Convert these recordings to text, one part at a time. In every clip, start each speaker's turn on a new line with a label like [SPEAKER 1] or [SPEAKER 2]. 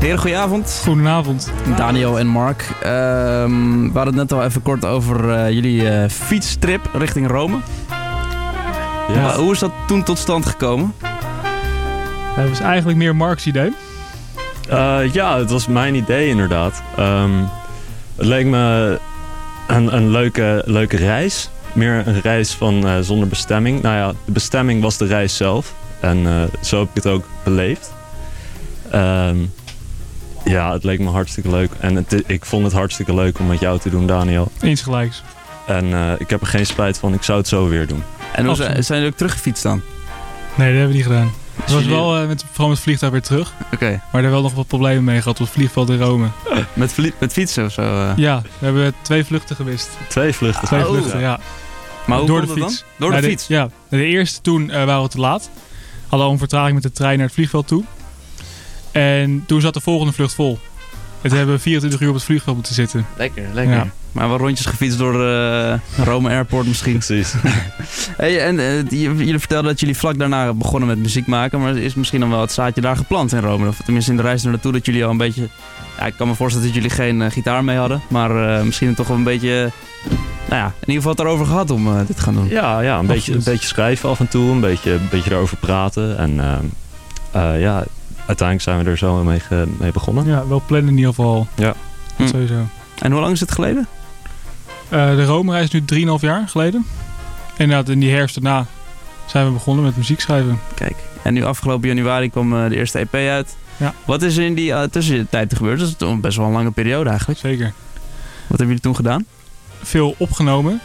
[SPEAKER 1] Heren, goedenavond.
[SPEAKER 2] Goedenavond.
[SPEAKER 1] Daniel en Mark. Ehm, we hadden het net al even kort over eh, jullie eh, fietstrip richting Rome. Maar hoe is dat toen tot stand gekomen?
[SPEAKER 2] Dat was eigenlijk meer Mark's idee.
[SPEAKER 3] Eh, ja, het was mijn idee inderdaad. Ehm, het leek me een, een leuke, leuke reis. Meer een reis van eh, zonder bestemming. Nou ja, de bestemming was de reis zelf. En eh, zo heb ik het ook beleefd. Ehm, ja, het leek me hartstikke leuk. En het- ik vond het hartstikke leuk om met jou te doen, Daniel.
[SPEAKER 2] Eens gelijks.
[SPEAKER 3] En eh, ik heb er geen spijt van. Ik zou het zo weer doen.
[SPEAKER 1] En hoe zijn,
[SPEAKER 2] Absoluut.
[SPEAKER 1] zijn jullie ook teruggefietst dan?
[SPEAKER 2] Nee, dat hebben we niet gedaan. Het was
[SPEAKER 1] jullie-
[SPEAKER 2] wel eh, met, vooral met het vliegtuig weer terug.
[SPEAKER 1] Oké,
[SPEAKER 2] Maar daar wel nog wat problemen mee gehad op het vliegveld in Rome.
[SPEAKER 1] met, vlie- met fietsen of zo. eh.
[SPEAKER 2] Ja, we hebben twee vluchten gewist.
[SPEAKER 3] Twee vluchten.
[SPEAKER 1] Oh.
[SPEAKER 2] Twee vluchten, ja.
[SPEAKER 1] Maar hoe
[SPEAKER 2] Door
[SPEAKER 1] kon
[SPEAKER 2] de
[SPEAKER 1] dat
[SPEAKER 2] fiets.
[SPEAKER 1] dan? Door de
[SPEAKER 2] Nou,
[SPEAKER 1] fiets?
[SPEAKER 2] ja, de eerste toen eh, waren we te laat. Hadden al een vertraging met de trein naar het vliegveld toe. En toen zat de volgende vlucht vol. Het hebben we 24 uur op het vliegveld moeten zitten.
[SPEAKER 1] Lekker, lekker.
[SPEAKER 2] Ja.
[SPEAKER 1] Maar wel rondjes gefietst door eh, Rome Airport misschien.
[SPEAKER 3] Precies.
[SPEAKER 1] Hey, en eh, j- jullie vertelden dat jullie vlak daarna begonnen met muziek maken. Maar is misschien dan wel het zaadje daar geplant in Rome? Of tenminste in de reis er naartoe dat jullie al een beetje... Ja, ik kan me voorstellen dat jullie geen eh, gitaar mee hadden. Maar eh, misschien toch wel een beetje... eh, nou ja, in ieder geval het erover gehad om eh, dit te gaan doen.
[SPEAKER 3] Ja, ja een, beetje, een
[SPEAKER 2] Absoluut.
[SPEAKER 3] beetje schrijven af en toe, een beetje, een beetje erover praten. En ehm, eh, ja, uiteindelijk zijn we er zo mee, ge- mee begonnen.
[SPEAKER 2] Ja, wel plannen in ieder geval.
[SPEAKER 3] Ja.
[SPEAKER 2] Dat
[SPEAKER 1] Hm.
[SPEAKER 2] sowieso.
[SPEAKER 1] En hoe lang is het geleden?
[SPEAKER 2] Eh, de Rome-reis is nu 3,5 jaar geleden. Inderdaad, in die herfst daarna zijn we begonnen met muziek schrijven.
[SPEAKER 1] Kijk. En nu afgelopen januari kwam eh, de eerste EP uit.
[SPEAKER 2] Ja.
[SPEAKER 1] Wat is er in die eh, tussentijd gebeurd? Dat is toch best wel een lange periode eigenlijk.
[SPEAKER 2] Zeker.
[SPEAKER 1] Wat hebben jullie toen gedaan?
[SPEAKER 2] Veel opgenomen.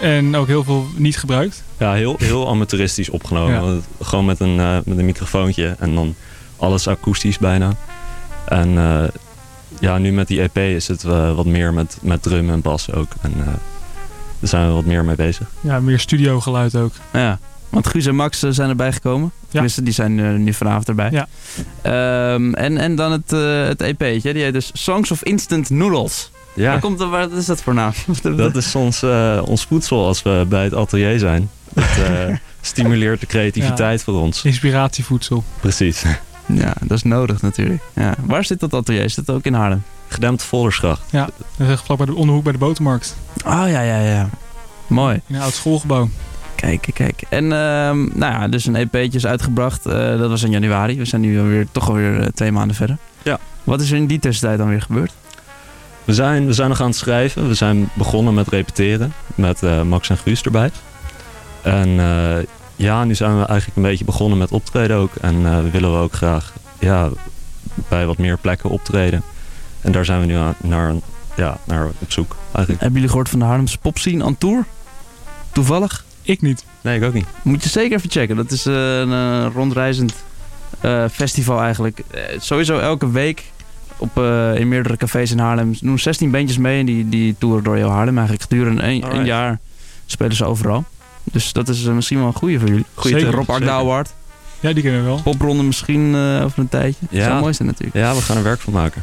[SPEAKER 2] En ook heel veel niet gebruikt.
[SPEAKER 3] Ja, heel, heel amateuristisch opgenomen.
[SPEAKER 2] Ja.
[SPEAKER 3] Want Gewoon met een, eh, met een microfoontje en dan alles akoestisch bijna. En eh, ja, nu met die EP is het eh, wat meer met, met drum en bas ook. En eh, daar zijn we wat meer mee bezig.
[SPEAKER 2] Ja, meer studiogeluid ook.
[SPEAKER 1] Ja, want Guus en Max eh, zijn erbij gekomen. Tenminste, die zijn eh, nu vanavond erbij.
[SPEAKER 2] Ja.
[SPEAKER 1] Ehm, en, en dan het, eh het EP'tje. Die heet dus Songs of Instant Noodles.
[SPEAKER 3] Ja,
[SPEAKER 1] Waar komt, dat- waar, wat is dat voor naam?
[SPEAKER 3] dat is ons, eh, ons voedsel als we bij het atelier zijn. Dat eh, stimuleert de creativiteit voor ons.
[SPEAKER 2] Inspiratievoedsel.
[SPEAKER 3] Precies.
[SPEAKER 1] Ja, dat is nodig natuurlijk. Ja. Waar zit dat atelier? Is dat ook in Haarlem?
[SPEAKER 3] Gedempt Voldersgracht.
[SPEAKER 2] Dat is echt vlak bij de onderhoek bij de botermarkt.
[SPEAKER 1] Oh, ja, ja, ja. Mooi.
[SPEAKER 2] In een oud schoolgebouw.
[SPEAKER 1] Kijk, kijk, kijk. En ehm, nou ja, dus een EP'tje is uitgebracht. Eh, dat was in januari. We zijn nu alweer, toch alweer eh, twee maanden verder.
[SPEAKER 3] Ja.
[SPEAKER 1] Wat is er in die tussentijd dan weer gebeurd?
[SPEAKER 3] We zijn, we zijn nog aan het schrijven. We zijn begonnen met repeteren. Met eh, Max en Guus erbij. En eh, ja, nu zijn we eigenlijk een beetje begonnen met optreden ook. En eh, willen we ook graag ja, bij wat meer plekken optreden. En daar zijn we nu aan, naar, ja, naar op zoek eigenlijk.
[SPEAKER 1] Hebben jullie gehoord van de Haarlemse popscene aan tour? Toevallig?
[SPEAKER 2] Ik niet.
[SPEAKER 3] Nee, ik ook niet.
[SPEAKER 1] Moet je zeker even checken. Dat is eh, een eh, rondreizend eh, festival eigenlijk. Eh, sowieso elke week op, eh, in meerdere cafés in Haarlem. Ze doen 16 bandjes mee en die, die toeren door heel Haarlem. Eigenlijk gedurende een,
[SPEAKER 3] Alright.
[SPEAKER 1] een jaar spelen ze overal. Dus dat is eh, misschien wel een goede voor jullie.
[SPEAKER 3] Goeie
[SPEAKER 2] Zeker.
[SPEAKER 3] tip.
[SPEAKER 1] Rob Agda Award.
[SPEAKER 2] Ja, die kennen we wel.
[SPEAKER 1] Popronde misschien eh, over een tijdje.
[SPEAKER 3] Ja.
[SPEAKER 1] Dat zou mooi zijn natuurlijk.
[SPEAKER 3] Ja, we gaan er werk van maken.